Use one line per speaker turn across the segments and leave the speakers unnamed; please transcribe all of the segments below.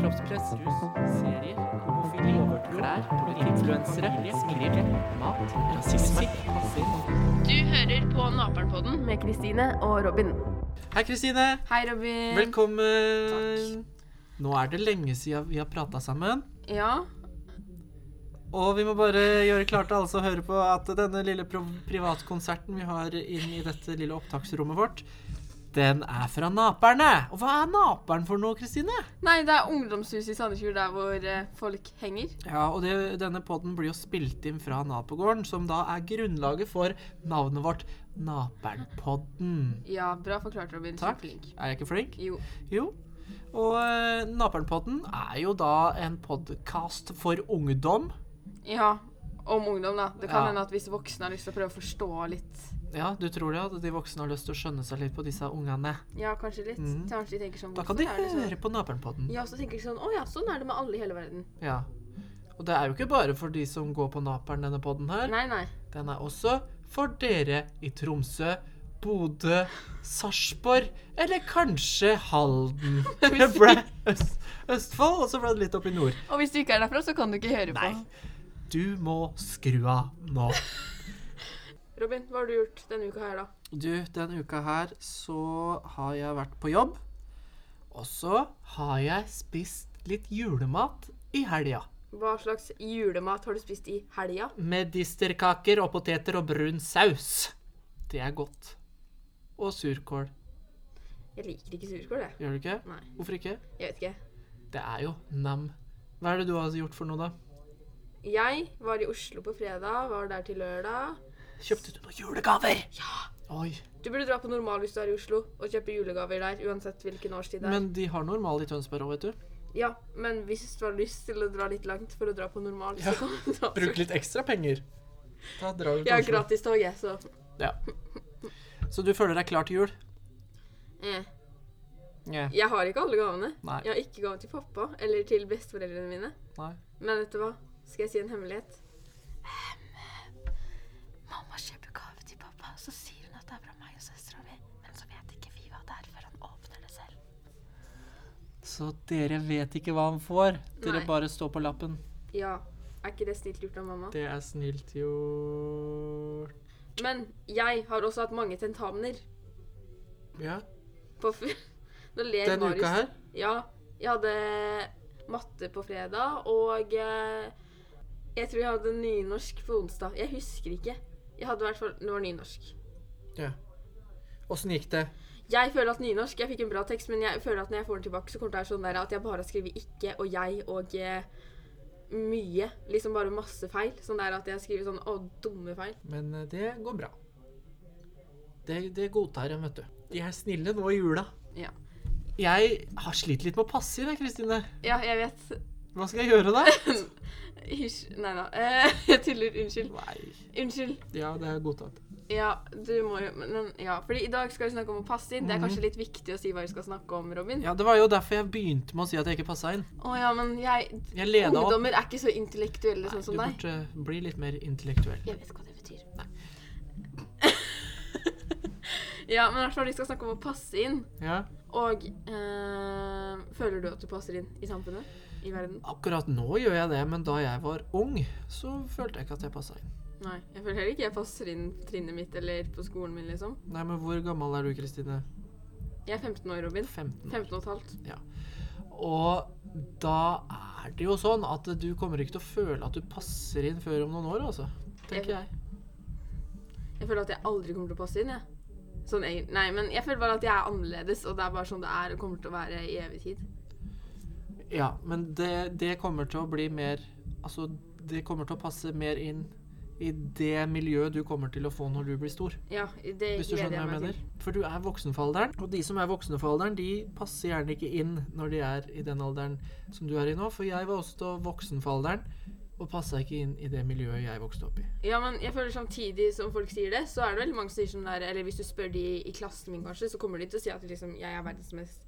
kroppspress, rus, serier, homofili, klær, influensere, smilere, mat, rasisme, passer.
Du hører på Naperen-podden med Kristine og Robin.
Hei, Kristine.
Hei, Robin.
Velkommen. Nå er det lenge siden vi har prata sammen.
Ja,
Og vi må bare gjøre klart til alle som hører på, at denne lille pro privatkonserten vi har inn i dette lille opptaksrommet vårt, den er fra Naperne. Og hva er Naperen for noe, Kristine?
Nei, det er ungdomshuset i Sandefjord der hvor eh, folk henger.
Ja, og det, denne podden blir jo spilt inn fra Napogården, som da er grunnlaget for navnet vårt Napernpodden.
Ja, bra forklart, Robin.
Takk.
Kjempeflink.
Er jeg ikke flink?
Jo.
Jo. Og eh, Napernpodden er jo da en podkast for ungdom.
Ja, om ungdom, da. Det kan
Ja.
hende at hvis voksne har lyst til å prøve å forstå litt
Ja, du tror det at de voksne har lyst til å skjønne seg litt på disse ungene?
Ja, kanskje litt.
Mhm.
Kanskje de tenker sånn
Da kan
hvorfor
de
er det sånn?
høre på Napernpodden.
Ja, så tenker de sånn Å ja, sånn er det med alle i hele verden.
Ja. Og det er jo ikke bare for de som går på Naperen, denne podden her.
Nei, nei.
Den er også for dere i Tromsø, Bodø, Sarpsborg eller kanskje Halden. Det ble Øst Østfold, og så ble det litt opp i nord.
Og hvis du ikke er derfra, så kan du ikke høre
Nei. Du må skru av nå.
på. Robin, hva har du gjort denne uka her, da?
Du, denne uka her så har jeg vært på jobb. Og så har jeg spist litt julemat i helga.
Hva slags julemat har du spist i helga?
Med disterkaker og poteter og brun saus. Det er godt. Og surkål.
Jeg liker ikke surkål, jeg.
Gjør du ikke?
Nei,
Hvorfor ikke?
jeg vet ikke.
Det er jo nam. Hva er det du har gjort for noe, da?
Jeg var i Oslo på fredag, var der til lørdag.
Kjøpte du noen julegaver? Ja. Oi.
Du burde dra på normal hvis du er i Oslo, og kjøpe julegaver der. uansett hvilken årstid det er.
Men de har normal i Tønsberg òg, vet du.
ja, men hvis du har lyst til å dra litt langt for å dra på normal,
Ja,
så kan du dra.
Bruk litt ekstra penger. Da drar du
Jeg har gratistog, jeg, så
Ja. Så du føler deg klar til jul?
eh.
Nja.
Jeg har ikke alle gavene.
Nei.
Jeg har ikke gave til pappa eller til besteforeldrene mine.
Nei.
Men vet du hva? Skal jeg si en hemmelighet? mamma kjøper gave til pappa, så sier hun at det er fra meg og søstera mi. Men så vet ikke vi hva det er før han åpner det selv.
Så dere vet ikke hva han får? Dere
Nei.
bare står på lappen?
Ja. Er ikke det snilt gjort av mamma?
Det er snilt gjort.
Men jeg har også hatt mange tentamener.
Ja.
På f Nå ler
Denne
Marius.
uka her?
Ja. Jeg hadde matte på fredag, og eh, jeg tror jeg hadde nynorsk på onsdag. Jeg husker ikke. Jeg hadde i hvert fall Det var nynorsk.
Ja. Åssen gikk det?
Jeg føler at nynorsk Jeg fikk en bra tekst, men jeg føler at når jeg får den tilbake, så kommer det til å være sånn der at jeg bare har skrevet 'ikke' og 'jeg' og eh, mye. Liksom bare masse feil. Sånn der at jeg skriver sånn 'å, dumme feil'.
Men eh, det går bra. Det, det godtar en, vet du. De er snille nå i jula.
Ja.
Jeg har slitt litt med å passe i deg, Kristine.
ja, jeg vet.
Hva skal jeg gjøre da?
Hysj. Nei da. Eh, jeg tuller. Unnskyld.
Nei.
Unnskyld.
Ja, det er godtatt.
Ja, du må jo men, Ja, fordi i dag skal vi snakke om å passe inn. Det er kanskje litt viktig å si hva vi skal snakke om, Robin.
Mm. Ja, Det var jo derfor jeg begynte med å si at jeg ikke passa inn.
Å ja, men jeg
Jeg leda opp.
Ungdommer er ikke så intellektuelle sånn
du
som deg.
burde bli litt mer intellektuell.
Jeg vet ikke hva det betyr. ja, men i hvert fall vi skal snakke om å passe inn.
Ja.
Og eh, føler du at du passer inn i samfunnet? I verden?
Akkurat nå gjør jeg det, men da jeg var ung, så følte jeg ikke at jeg passa inn.
Nei. Jeg føler heller ikke jeg passer inn på trinnet mitt eller på skolen min, liksom.
Nei, men hvor gammel er du, Kristine?
Jeg er 15 år, Robin.
15.
15 og et halvt.
Og da er det jo sånn at du kommer ikke til å føle at du passer inn før om noen år, altså. Tenker jeg.
Jeg føler at jeg aldri kommer til å passe inn, jeg. Sånn, jeg, nei, men jeg føler bare at jeg er annerledes, og det er bare sånn det er og kommer til å være i evig tid.
Ja, men det, det kommer til å bli mer Altså, det kommer til å passe mer inn i det miljøet du kommer til å få når du blir stor.
Ja, det
Hvis du
gleder
skjønner hva
jeg
jeg
meg
mener.
til.
For du er voksenfalderen, og de som er voksenfalderen, de passer gjerne ikke inn når de er i den alderen som du er i nå. For jeg var også da voksenfalderen og passa ikke inn i det miljøet jeg vokste opp i.
Ja, men jeg føler samtidig som folk sier det, så er det veldig mange som sier sånn der Eller hvis du spør de i klassen min, kanskje, så kommer de til å si at liksom, jeg er verdens mest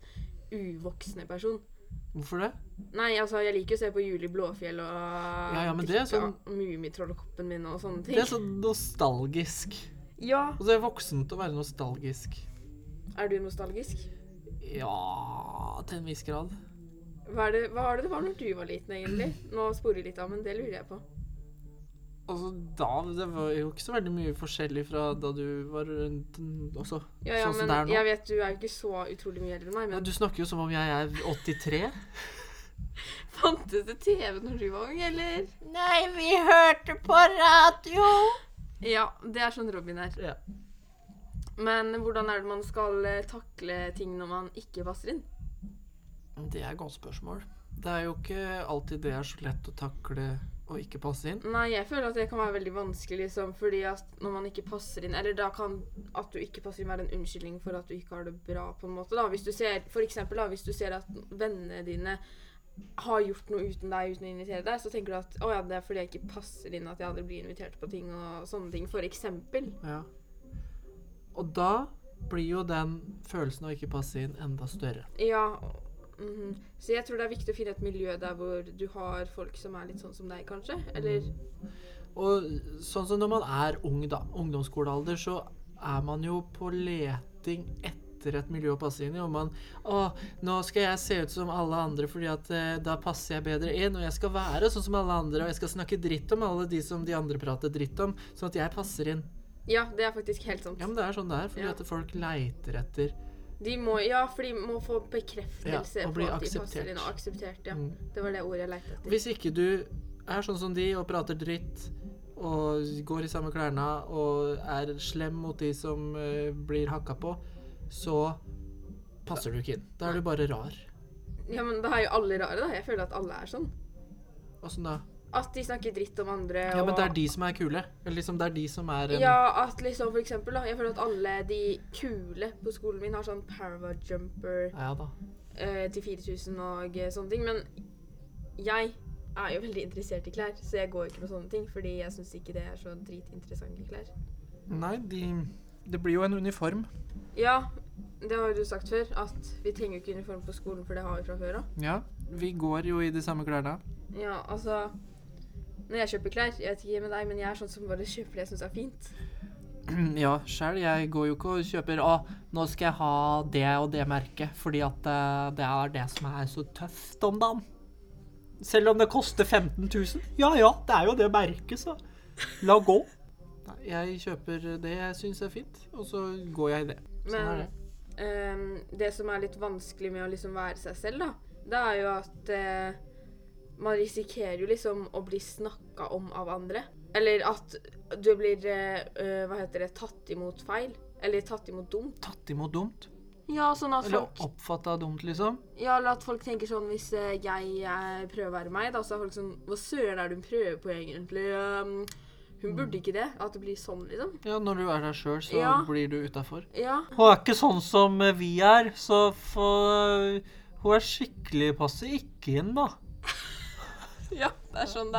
uvoksne person.
Hvorfor det?
Nei, altså, jeg liker jo å se på Juli Blåfjell og
Ja, ja, men det er sånn-
Mummitrollkoppen min og sånne ting.
Det er sånn- så nostalgisk.
Ja.
Og så er det voksent å være nostalgisk.
Er du nostalgisk?
Ja til en viss grad.
Hva, er det, hva var det det var når du var liten, egentlig? Nå sporer vi litt av, men det lurer jeg på.
Altså, da, Det var jo ikke så veldig mye forskjellig fra da du var rundt mm, også.
Ja, ja,
sånn som
men
det er nå.
jeg vet du er jo ikke så utrolig mye eldre enn meg,
Men
men
Du snakker jo som om jeg er 83.
fantes det TV når du var ung, eller?
Nei, vi hørte på radio!
Ja, det er sånn Robin er.
Ja.
Men hvordan er det man skal eh, takle ting når man ikke passer inn?
Det er et godt spørsmål. Det er jo ikke alltid det er så lett å takle og ikke passe inn.
Nei, jeg føler at det kan være veldig vanskelig, liksom, fordi at når man ikke passer inn Eller da kan at du ikke passer inn være en unnskyldning for at du ikke har det bra, på en måte. da. Hvis du ser, for eksempel, da, hvis du ser at vennene dine har gjort noe uten deg, uten å invitere deg, så tenker du at å ja, det er fordi jeg ikke passer inn at jeg aldri blir invitert på ting og sånne ting, for eksempel.
Ja. Og da blir jo den følelsen av ikke passe inn enda større.
Ja. mhm. Så jeg tror det er viktig å finne et miljø der hvor du har folk som er litt sånn som deg, kanskje.
Mhm.
Eller
Og sånn som når man er ung, da, ungdomsskolealder, så er man jo på leting etter et miljø å passe inn i. Og man Å, nå skal jeg se ut som alle andre, fordi at eh, da passer jeg bedre inn. Og jeg skal være sånn som alle andre, og jeg skal snakke dritt om alle de som de andre prater dritt om, sånn at jeg passer inn.
Ja, det er faktisk helt sant.
Ja, men det er sånn det er, fordi
Ja.
at folk leiter etter
De må, ja, for de må få
Ja,
bekreftelse
og
på
bli
at de
akseptert.
passer inn og akseptert. Ja.
Mm.
Det var det ordet jeg lette etter.
Hvis ikke du er sånn som de og prater dritt og går i samme klærne og er slem mot de som eh, blir hakka på, så passer du ikke inn. Da er du bare rar.
Ja, men da er jo alle rare, da. Jeg føler at alle er sånn.
Åssen da?
At de snakker dritt om andre
Ja, men det er
og
de som er kule. Eller liksom, det er de som er en
Ja, at liksom for eksempel, da. Jeg føler at alle de kule på skolen min har sånn paravajumper
Ja da.
eh, til 4000 og eh, sånne ting. Men jeg er jo veldig interessert i klær, så jeg går ikke med sånne ting. Fordi jeg syns ikke det er så dritinteressante klær.
Nei, de Det blir jo en uniform.
Ja, det har jo du sagt før, at vi trenger jo ikke uniform på skolen, for det har vi fra før av.
Ja. Vi går jo i de samme klærne.
Ja, altså Når jeg kjøper klær Jeg vet ikke med deg, men jeg er sånn som bare kjøper det jeg syns er fint.
Ja, sjæl. Jeg går jo ikke og kjøper Å, nå skal jeg ha det og det merket, fordi at eh, det er det som er så tøft om dagen. Selv om det koster 15 000. Ja ja, det er jo det merket, så la gå. Nei, jeg kjøper det jeg syns er fint, og så går jeg i det. Sånn
Men
er det.
ehm, det som er litt vanskelig med å liksom være seg selv, da, det er jo at eh, man risikerer jo liksom å bli snakka om av andre. Eller at du blir eh, eh, hva heter det, tatt imot feil. Eller tatt imot dumt.
Tatt imot dumt.
Ja, sånn at
Eller
folk
oppfatta dumt, liksom.
Ja, eller at folk tenker sånn hvis eh, jeg eh, prøver å være meg, da, så er folk sånn Hva søren er det hun prøver på egentlig? Um, hun burde
Mm.
ikke det. At det blir sånn, liksom.
Ja, når du er deg sjøl, så
Ja.
blir du utafor.
Ja.
Hun er ikke sånn som vi er, så hun er skikkelig passer ikke inn, da.
ja, det er sånn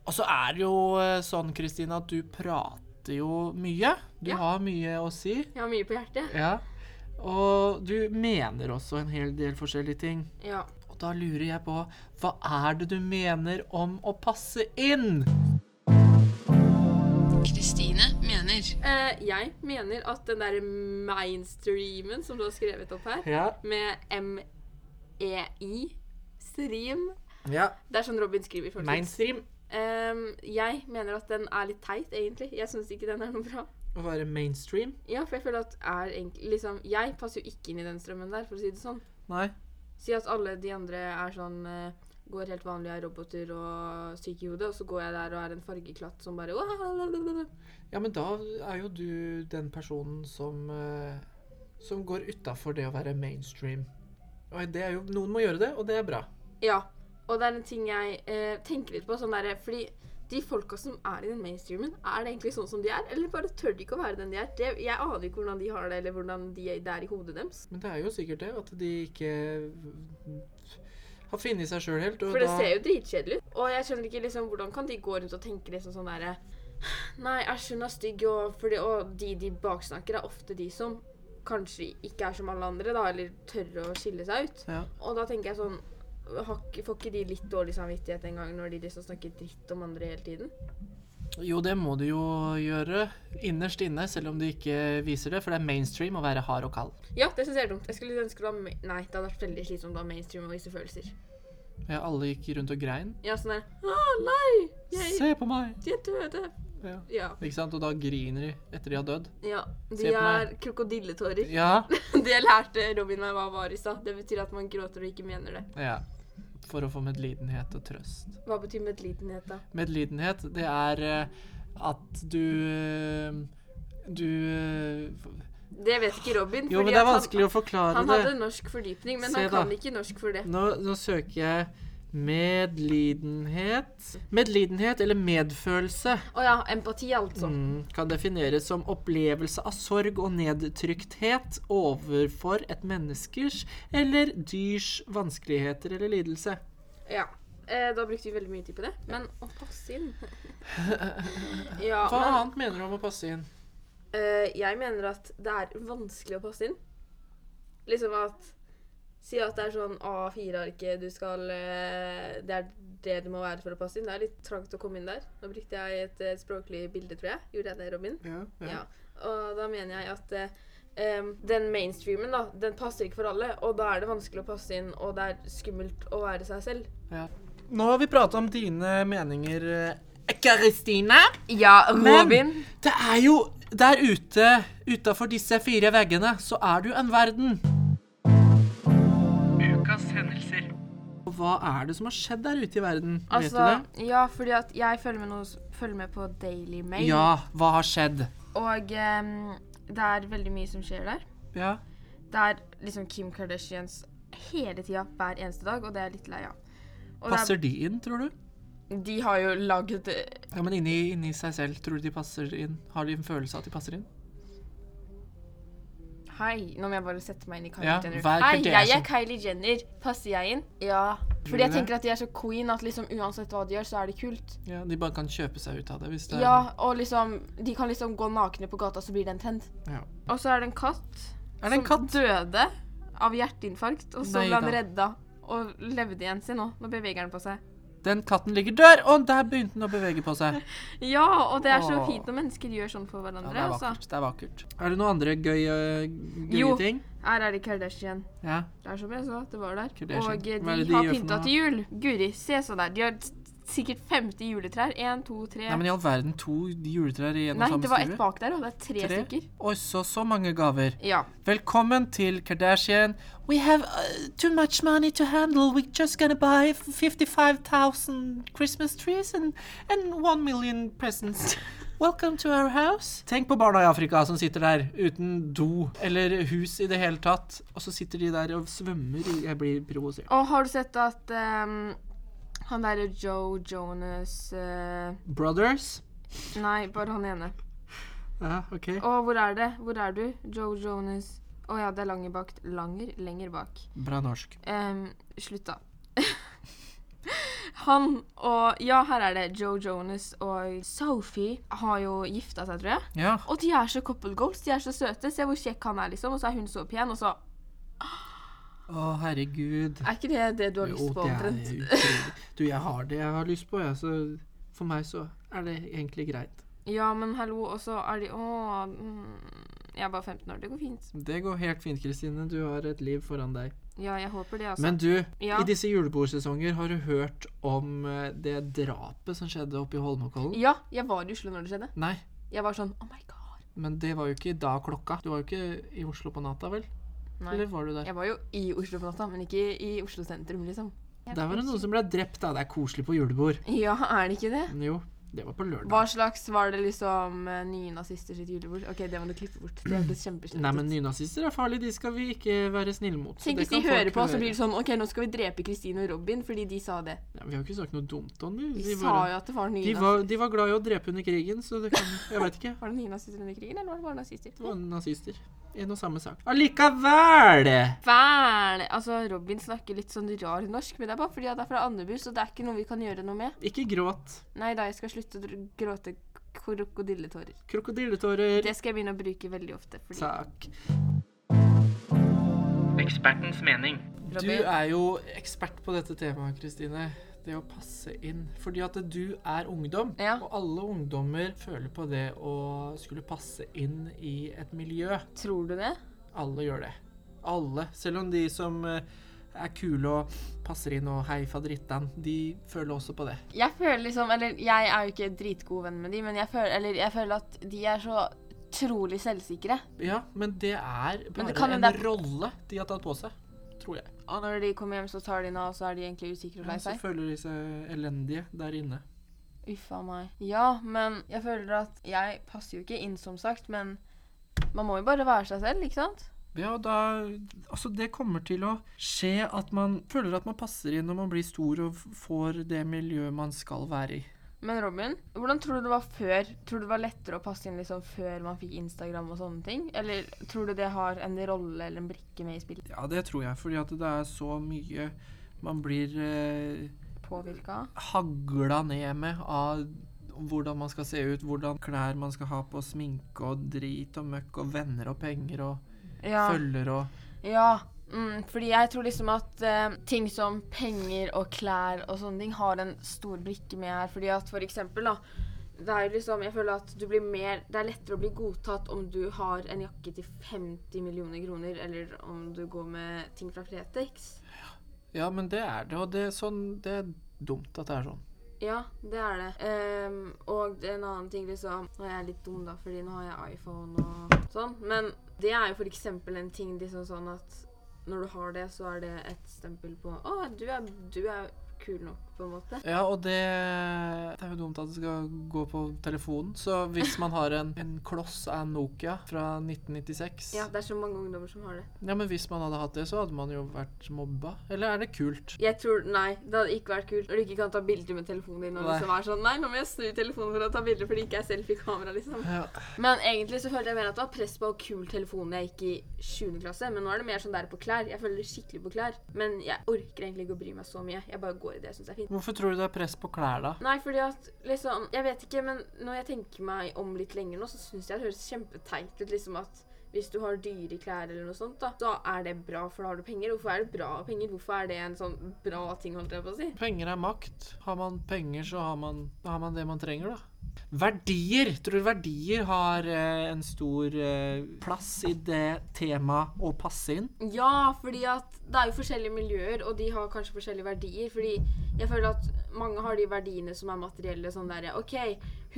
Og så er det jo eh, sånn, Kristine, at du prater jo mye. Du
Ja.
har mye å si.
Jeg har mye på hjertet.
Ja. Og du mener også en hel del forskjellige ting.
Ja.
Og da lurer jeg på, hva er det du mener om å passe inn?
Kristine mener.
Eh, jeg mener at den der mainstreamen som du har skrevet opp her,
Ja.
med MEI stream
ja.
Det er sånn Robin skriver. folkens.
Mainstream.
Ehm, jeg mener at den er litt teit, egentlig. Jeg syns ikke den er noe bra.
Å være mainstream?
Ja, for jeg føler at er egentlig liksom, Jeg passer jo ikke inn i den strømmen der, for å si det sånn.
Nei.
Si at alle de andre er sånn eh, Går helt vanlig av roboter og syk i hodet, og så går jeg der og er en fargeklatt som bare
Ja, men da er jo du den personen som eh, Som går utafor det å være mainstream. Og det er jo, noen må gjøre det, og det er bra.
Ja. Og det er en ting jeg eh, tenker litt på. sånn der, Fordi de folka som er i den mainstreamen, er det egentlig sånn som de er? Eller bare tør de ikke å være den de er? Det, jeg aner ikke hvordan de har det, eller hvordan de, det er i hodet deres.
Men det er jo sikkert det, at de ikke har funnet seg sjøl helt. Og
For det
da,
ser jo dritkjedelig ut. Og jeg skjønner ikke liksom, hvordan kan de gå rundt og tenke liksom sånn derre Nei, æsj, hun er stygg, og, fordi, og de de baksnakker, er ofte de som kanskje ikke er som alle andre, da, eller tør å skille seg ut.
ja.
Og da tenker jeg sånn har ikke- Får ikke de litt dårlig samvittighet en gang når de liksom snakker dritt om andre hele tiden?
Jo, det må du jo gjøre innerst inne, selv om du ikke viser det, for det er mainstream å være hard og kald.
Ja, det syns jeg er dumt. Jeg skulle ønske det var ma Nei, det hadde vært veldig slitsomt å ha mainstream og vise følelser.
Ja, alle gikk rundt og grein.
Ja, sånn der Å, nei! Jeg,
Se på meg!
de er døde.
Ja.
Ja.
Ikke sant? Og da griner de etter de har dødd.
ja.
Se
De
på meg.
er krokodilletårer.
Ja.
Det lærte Robin meg hva var i stad. Det betyr at man gråter og ikke mener det.
ja. For å få medlidenhet og trøst.
Hva betyr medlidenhet, da?
Medlidenhet, det er eh, at du eh, Du eh,
Det vet ikke Robin.
Jo, men
fordi
det er
at
vanskelig å
han,
forklare
han
det.
hadde norsk fordypning, men
Se
han
da. Mm.
kan ikke norsk for det.
Nå, nå søker jeg medlidenhet. Medlidenhet eller medfølelse
Å ja, empati, altså.
mm, kan defineres som opplevelse av sorg og nedtrykthet overfor et menneskers eller dyrs vanskeligheter eller lidelse.
Ja. Eh, da brukte vi veldig mye tid på det. Men å passe inn Ja,
Hva
men
annet mener du om å passe inn?
eh, jeg mener at det er vanskelig å passe inn. Liksom at Si at det er sånn A4-arket du skal eh, Det er det du må være for å passe inn. Det er litt trangt å komme inn der. Nå brukte jeg et eh, språklig bilde, tror jeg. Gjorde jeg det, Robin?
Ja,
Ja. Og da mener jeg at eh, em, den mainstreamen da, den passer ikke for alle, og da er det vanskelig å passe inn, og det er skummelt å være seg selv.
Nå har vi prata om dine meninger, eh, Kristine.
Ja,
Robin. Det er jo der ute, utafor disse fire veggene, så er du en verden. Ukas hendelser. Og hva er det som har skjedd der ute i verden?
Altså,
Vet du
ja, fordi at jeg følger med, noe, s- følger med på Daily
det?
Mail,
Ja, hva har skjedd?
og em, det er veldig mye som skjer der.
Ja.
Det er liksom Kim Kardashians hele tida, hver eneste dag, og det er jeg litt lei av. Og det er,
Passer de inn, tror du?
de har jo lagd eh,
Ja, men inni, inni seg selv, tror du de passer inn? Har de en følelse av at de passer inn?
Hei, nå må jeg bare sette meg inn i Kylie
Ja,
Jenner.
hver
Hei, jeg er
Kardashian.
Kylie Jenner. Passer jeg inn? Ja.
sånn.
Fordi jeg
du det?
tenker at de er så queen at liksom uansett hva de gjør, så er det kult.
Ja, De bare kan kjøpe seg ut av det hvis det er-
Ja, og liksom De kan liksom gå nakne på gata, så blir det en trend.
ja.
Og så er det en katt
Er det en katt?
som døde av hjerteinfarkt, og så
Nei
ble han
da.
redda. Og levde igjen sin nå. Nå beveger han på seg.
Den katten ligger dør, og der begynte den å bevege på seg.
Ja, og det er så
Åh.
fint når mennesker gjør sånn for
Ja,
hverandre.
det er
altså.
vakkert. det Er vakkert. Er det noen andre gøye,
Jo.
gøye ting?
Her er det Kardashian.
Ja.
Det er som jeg sa, det var der.
Kardashian.
Og eh,
Hva er
de,
det de
har
gjør for
pynta
noe?
til jul. Guri, se så der. De har s- sikkert 50 juletrær. Én, to, tre.
Nei, men i all verden, to juletrær i en
Nei,
og samme
det var
stue?
ett bak der, og det er tre,
Tre?
stykker.
Oi, så, så mange gaver.
Ja.
Velkommen til Kardashian. We have uh, too much money to handle. We're just gonna buy 55,000 Christmas trees and, and 1 million presents. Welcome to our house. Tenk på barna i Afrika som sitter der uten do eller hus i det hele tatt. Og så sitter de der og svømmer. i- Jeg blir provosert.
Og har du sett at ehm, han derre Joe Jonas eh,
Brothers?
Nei, bare han ene.
Ja, ok.
Å, hvor er det? Hvor er du? Joe Jonas Å ja, det er langer bak. Langer? Lenger bak.
Bra norsk.
Ehm, slutt, da. Han og Ja, her er det. Joe Jonas og Sophie har jo gifta seg, tror jeg.
Ja.
Og de er så couple goals. De er så søte. Se hvor kjekk han er, liksom. Og så er hun så pen, og så
Å, herregud.
Er ikke det det du har lyst på, omtrent?
Jo, det er utrolig. Du, jeg har det jeg har lyst på, jeg. Så for meg så er det egentlig greit.
Ja, men hallo, og så er de Å, mm, jeg er bare 15 år. Det går fint.
Det går helt fint, Kristine. Du har et liv foran deg.
Ja, jeg håper det, altså.
Men du,
Ja.
i disse julebordsesonger, har du hørt om eh, det drapet som skjedde oppe i Holmenkollen?
Ja, jeg var i Oslo når det skjedde.
Nei,
Jeg var sånn Oh my god.
men det var jo ikke da klokka. Du var jo ikke i Oslo på natta, vel?
Nei.
Eller var du der?
Jeg var jo i Oslo på natta, men ikke i Oslo sentrum, liksom.
Der var det noen som ble drept, da. Det er koselig på julebord.
Ja, er det ikke det?
Men jo, det var på lørdag.
Hva slags var det liksom eh, nye nazister sitt julebord? Ok, det må du klippe bort. Det ble kjempeslemt.
Nei, men nynazister er farlige. De skal vi ikke være snille mot. så
Tenk
det
hvis de
kan folk
hører på, så
høre.
blir det sånn OK, nå skal vi drepe Kristine og Robin fordi de sa det.
ja, Vi har jo ikke sagt noe dumt om dem.
De,
Vi
sa
bare-
jo at det var nye
De var, de var glad i å drepe under krigen, så det kan Jeg vet ikke.
Var det nye nazister under krigen, eller var det bare nazister?
Det var nazister. En og samme sak. Allikevel!
Fæl! Altså, Robin snakker litt sånn rar norsk, men det er bare fordi at det er fra Andebu, så det er ikke noe vi kan gjøre noe med.
Ikke gråt.
Nei da, jeg skal slutte å dr- gråte krokodilletårer.
Krokodilletårer.
Det skal jeg begynne å bruke veldig ofte. Fordi
Takk. Ekspertens mening. Du
Robin,
er jo ekspert på dette temaet, Kristine. det å passe inn. Fordi at du er ungdom,
Ja.
og alle ungdommer føler på det å skulle passe inn i et miljø.
Tror du det?
Alle gjør det. Alle. Selv om de som eh, er kule og passer inn og hei faderittan, de føler også på det.
Jeg føler liksom Eller jeg er jo ikke dritgod venn med de, men jeg føler, eller jeg føler at de er så utrolig selvsikre.
Ja, men det er
Men
bare
det kan
en
hende det er-
rolle de har tatt på seg, tror jeg.
Og når de kommer hjem, så tar de den av, og så er de egentlig usikre og
Ja,
lei
så
seg.
føler de seg elendige der inne.
Uff a meg. Ja, men jeg føler at jeg passer jo ikke inn, som sagt, men man må jo bare være seg selv, ikke sant?
Ja, og da Altså, det kommer til å skje at man føler at man passer inn når man blir stor og f- får det miljøet man skal være i.
Men Robin, hvordan tror du det var før? Tror du det var lettere å passe inn liksom før man fikk Instagram og sånne ting? Eller tror du det har en rolle eller en brikke med i spillet?
Ja, det tror jeg, fordi at det er så mye man blir eh,
Påvirka?
hagla ned med av hvordan man skal se ut, hvordan klær man skal ha på, sminke og drit og møkk og venner og penger og
Ja.
følger og
Ja, mm, fordi jeg tror liksom at eh, ting som penger og klær og sånne ting har en stor brikke med her. Fordi at for eksempel da, det er jo liksom, jeg føler at du blir mer, det er lettere å bli godtatt om du har en jakke til 50 millioner kroner, eller om du går med ting fra Fretex.
Ja, men det er det, og det er sånn Det er dumt at det er sånn.
Ja, det er det. Ehm, og en annen ting liksom Nå er jeg litt dum, da, fordi nå har jeg iPhone og sånn. Men det er jo for eksempel en ting liksom sånn at når du har det, så er det et stempel på Å, du er, du er kul nok, på en måte.
Ja, og det, det er jo dumt at det skal gå på telefonen. Så hvis man har en, en kloss av en Nokia fra 1996 ja.
Ja, det er så mange ungdommer som har det.
men hvis man hadde hatt det, så hadde man jo vært mobba. Eller er det kult?
Jeg tror, Nei, det hadde ikke vært kult når du ikke kan ta bilder med telefonen din. Og
Nei.
liksom er sånn, nei, nå må jeg snu telefonen for å ta bilder fordi det ikke er selfie-kamera, liksom.
Ja.
Men egentlig så følte jeg mer at det var press på hvor kul telefonen jeg gikk i 7. klasse. Men nå er det mer sånn der på klær. Jeg føler skikkelig på klær. Men jeg orker egentlig ikke å bry meg så mye. Jeg bare går i det jeg syns er fint.
Hvorfor tror du det er press på klær, da?
Nei, fordi at liksom Jeg vet ikke, men når jeg tenker meg om litt lenger nå, så syns jeg det høres kjempeteit ut liksom at hvis du har dyre klær eller noe sånt, da, da er det bra, for da har du penger. Hvorfor er det bra å ha penger? Hvorfor er det en sånn bra ting, holdt jeg på å si?
Penger er makt. Har man penger, så har man, har man det man trenger, da. Verdier! Tror du verdier har eh, en stor eh, plass i det temaet å passe inn?
Ja, fordi at det er jo forskjellige miljøer, og de har kanskje forskjellige verdier. Fordi jeg føler at mange har de verdiene som er materielle. Sånn derre OK,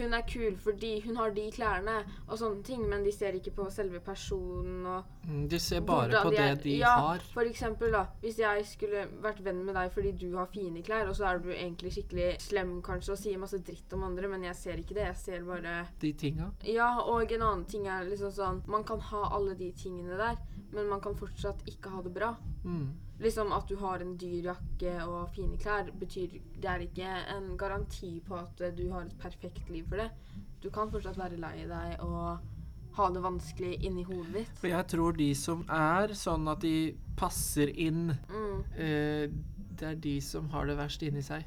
hun er kul fordi hun har de klærne, og sånne ting. Men de ser ikke på selve personen og
Mm, De ser bare
hvordan
på det
er.
de
ja,
har.
For eksempel, da. Hvis jeg skulle vært venn med deg fordi du har fine klær, og så er du egentlig skikkelig slem kanskje og sier masse dritt om andre, men jeg ser ikke det. Jeg ser bare
De tinga.
ja, og en annen ting er liksom sånn Man kan ha alle de tingene der, men man kan fortsatt ikke ha det bra.
Mm.
Liksom At du har en dyr jakke og fine klær, betyr det er ikke en garanti på at eh, du har et perfekt liv for det. Du kan fortsatt være lei deg og ha det vanskelig inni hodet ditt.
For jeg tror de som er sånn at de passer inn,
Mm.
eh, det er de som har det verst inni seg.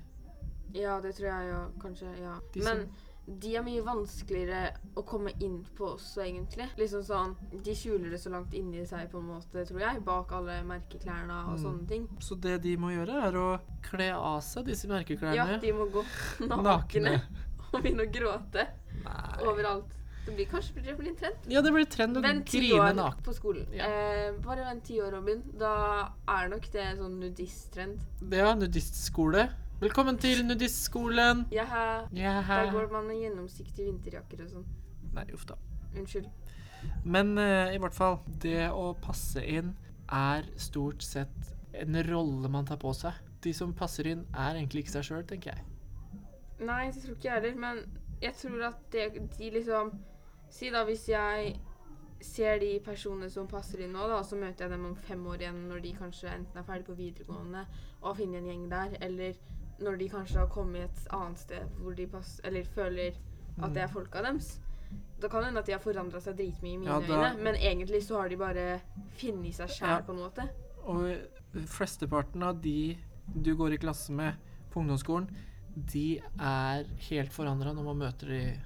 Ja, det tror jeg jo kanskje. ja.
De
Men de er mye vanskeligere å komme inn på også, egentlig. Liksom sånn, De skjuler det så langt inni seg, på en måte, tror jeg, bak alle merkeklærne og
Mm.
sånne ting.
Så det de må gjøre, er å kle av seg disse
Ja,
merkeklærne.
de må gå nakne og begynne å gråte
Nei.
overalt. Det blir kanskje det blir en trend.
Ja, det blir trend å
Vent ti
grine
år
naken.
på skolen.
Ja.
Eh, bare vent ti år, Robin. Da er nok det en sånn nudisttrend.
Ja, nudistskole. Velkommen til nudistskolen.
Jaha.
Ja.
Da går man med gjennomsiktige vinterjakker og sånn.
Nei, uff da.
Unnskyld.
Men eh, i hvert fall, det å passe inn er stort sett en rolle man tar på seg. De som passer inn, er egentlig ikke seg sjøl, tenker jeg.
Nei, det tror ikke jeg heller, men jeg tror at det, de liksom Si da hvis jeg ser de personene som passer inn nå, da, så møter jeg dem om fem år igjen når de kanskje enten er ferdig på videregående og har funnet en gjeng der, eller når de kanskje har kommet et annet sted hvor de pass, eller føler at
Mm.
det er folka deres. Da kan det hende at de har forandra seg dritmye i mine
Ja, da-
øyne, men egentlig så har de bare funnet seg sjæl
Ja.
på en måte.
Og eh, flesteparten av de du går i klasse med på ungdomsskolen, de er helt forandra når man møter de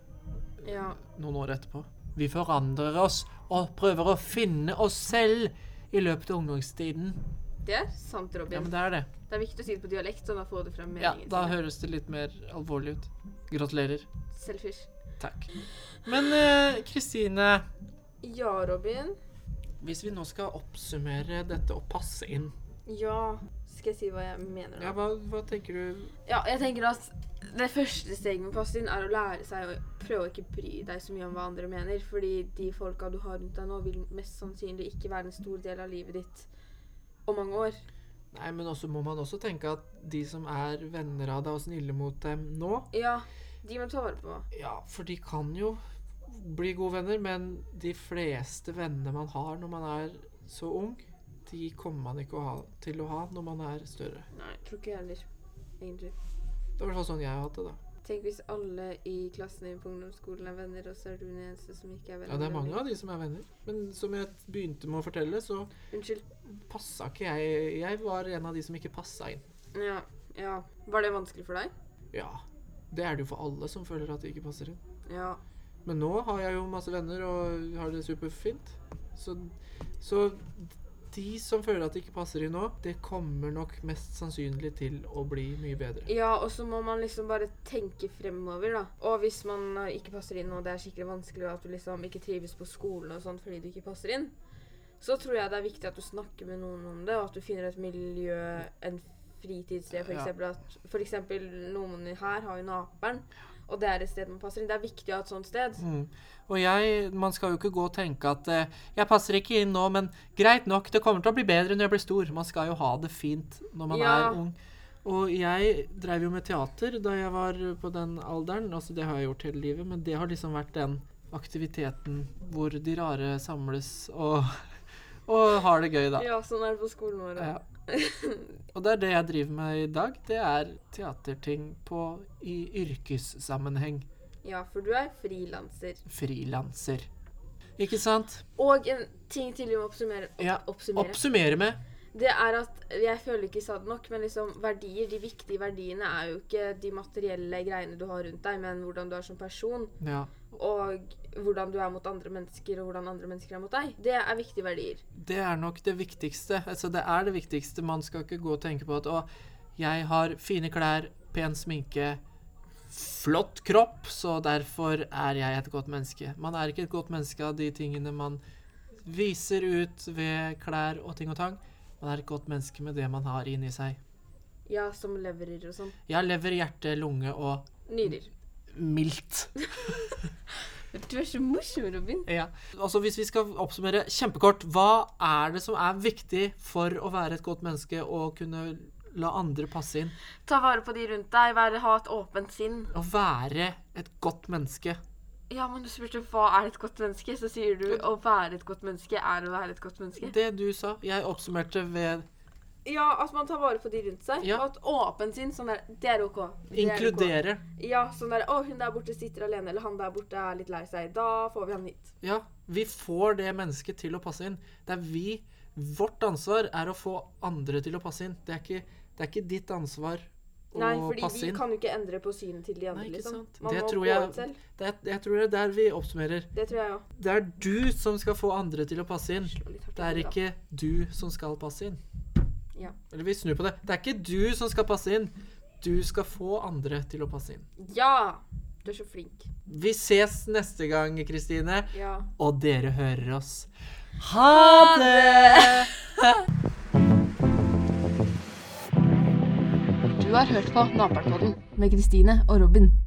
Ja.
noen år etterpå. Vi forandrer oss og prøver å finne oss selv i løpet av ungdomstiden.
Det er sant,
Ja,
Robin.
men det er det.
Det er viktig å si det på dialekt, sånn at jeg får det frem
Ja,
meningen.
da
sin.
høres det litt mer alvorlig ut. Gratulerer.
Selfish.
Takk. Men eh, Kristine,
Ja, Robin.
hvis vi nå skal oppsummere dette og passe inn
Ja. Skal jeg si hva jeg mener?
Ja,
da?
hva, hva tenker du
Ja, jeg tenker at det første steget med pass inn er å lære seg å prøve å ikke bry deg så mye om hva andre mener. Fordi de folka du har rundt deg nå, vil mest sannsynlig ikke være en stor del av livet ditt om mange år.
Nei, men også må man også tenke at de som er venner av deg og snille mot dem nå
Ja, de må du ta vare på.
Ja, for de kan jo bli gode venner, men de fleste vennene man har når man er så ung, de kommer man ikke å ha, til å ha når man er større.
Nei, tror ikke jeg heller, egentlig.
Det er i hvert fall sånn jeg har hatt det, da.
Tenk hvis alle i klassen din på ungdomsskolen er venner, og så er du den eneste som ikke er venner.
Ja, det er mange av de som er venner. Men som jeg begynte med å fortelle, så
Unnskyld.
passa ikke jeg Jeg var en av de som ikke passa inn.
Ja, ja. Var det vanskelig for deg?
Ja. Det er det jo for alle som føler at de ikke passer inn.
Ja.
Men nå har jeg jo masse venner og har det superfint. Så, så de som føler at de ikke passer inn nå, det kommer nok mest sannsynlig til å bli mye bedre.
Ja, og så må man liksom bare tenke fremover, da. Og hvis man eh, ikke passer inn, og det er skikkelig vanskelig, og at du liksom ikke trives på skolen og sånn fordi du ikke passer inn, så tror jeg det er viktig at du snakker med noen om det, og at du finner et miljø, en fritidssted, for
Ja.
eksempel. At, for eksempel noen her har jo Naperen, og det er et sted man passer inn. Det er viktig å ha et sånt sted.
Mm. Og jeg, man skal jo ikke gå og tenke at eh, jeg passer ikke inn nå, men greit nok, det kommer til å bli bedre når jeg blir stor. Man skal jo ha det fint når man
Ja.
er ung. Og jeg drev jo med teater da jeg var på den alderen, altså det har jeg gjort hele livet, men det har liksom vært den aktiviteten hvor de rare samles og, og har det gøy, da.
Ja, sånn er det på skolen vår.
Ja. Og det er det jeg driver med i dag. Det er teaterting på i yrkessammenheng.
Ja, for du er frilanser.
Frilanser. Ikke sant?
Og en ting til vi må oppsummere, opp,
Ja,
oppsummere.
Oppsummere med
det er at jeg føler ikke jeg sa det nok, men liksom verdier, de viktige verdiene er jo ikke de materielle greiene du har rundt deg, men hvordan du er som person,
Ja.
og hvordan du er mot andre mennesker, og hvordan andre mennesker er mot deg. Det er viktige verdier.
Det er nok det viktigste. Altså, det er det viktigste. Man skal ikke gå og tenke på at å, jeg har fine klær, pen sminke, flott kropp, så derfor er jeg et godt menneske. Man er ikke et godt menneske av de tingene man viser ut ved klær og ting og tang. Man er et godt menneske med det man har inni seg.
Ja, som leverer og sånn.
Jeg har lever, hjerte, lunge og
Nyrer.
mildt.
Du er så morsom, Robin.
Ja. Altså Hvis vi skal oppsummere kjempekort, hva er det som er viktig for å være et godt menneske og kunne la andre passe inn?
Ta vare på de rundt deg, være, ha et åpent sinn.
Å være et godt menneske.
Ja, men du spurte hva er et godt menneske, så sier du å være et godt menneske er å være et godt menneske.
Det du sa. Jeg oppsummerte ved
Ja, at man tar vare på de rundt seg.
Ja.
Og at åpent sinn, sånn der, det er ok. Det er ok.
inkludere.
Ja, sånn der Å, hun der borte sitter alene, eller han der borte er litt lei seg. Da får vi han hit.
Ja, vi får det mennesket til å passe inn. Det er vi. Vårt ansvar er å få andre til å passe inn. Det er ikke, det er ikke ditt ansvar å
Nei, fordi
passe
vi
inn.
kan jo ikke endre på synet til de andre,
Nei, ikke
liksom.
sant.
Man
Det
må
tror
gå
jeg-
ut selv.
Det er, jeg tror det er der vi oppsummerer.
Det tror jeg òg.
Det er du som skal få andre til å passe inn. Det er ikke du som skal passe inn.
Ja.
Eller vi snur på det. Det er ikke du som skal passe inn. Du skal få andre til å passe inn.
Ja! Du er så flink.
Vi ses neste gang, Kristine.
Ja.
Og dere hører oss. Ha det!
Du har hørt på Naperpodden med Kristine og Robin.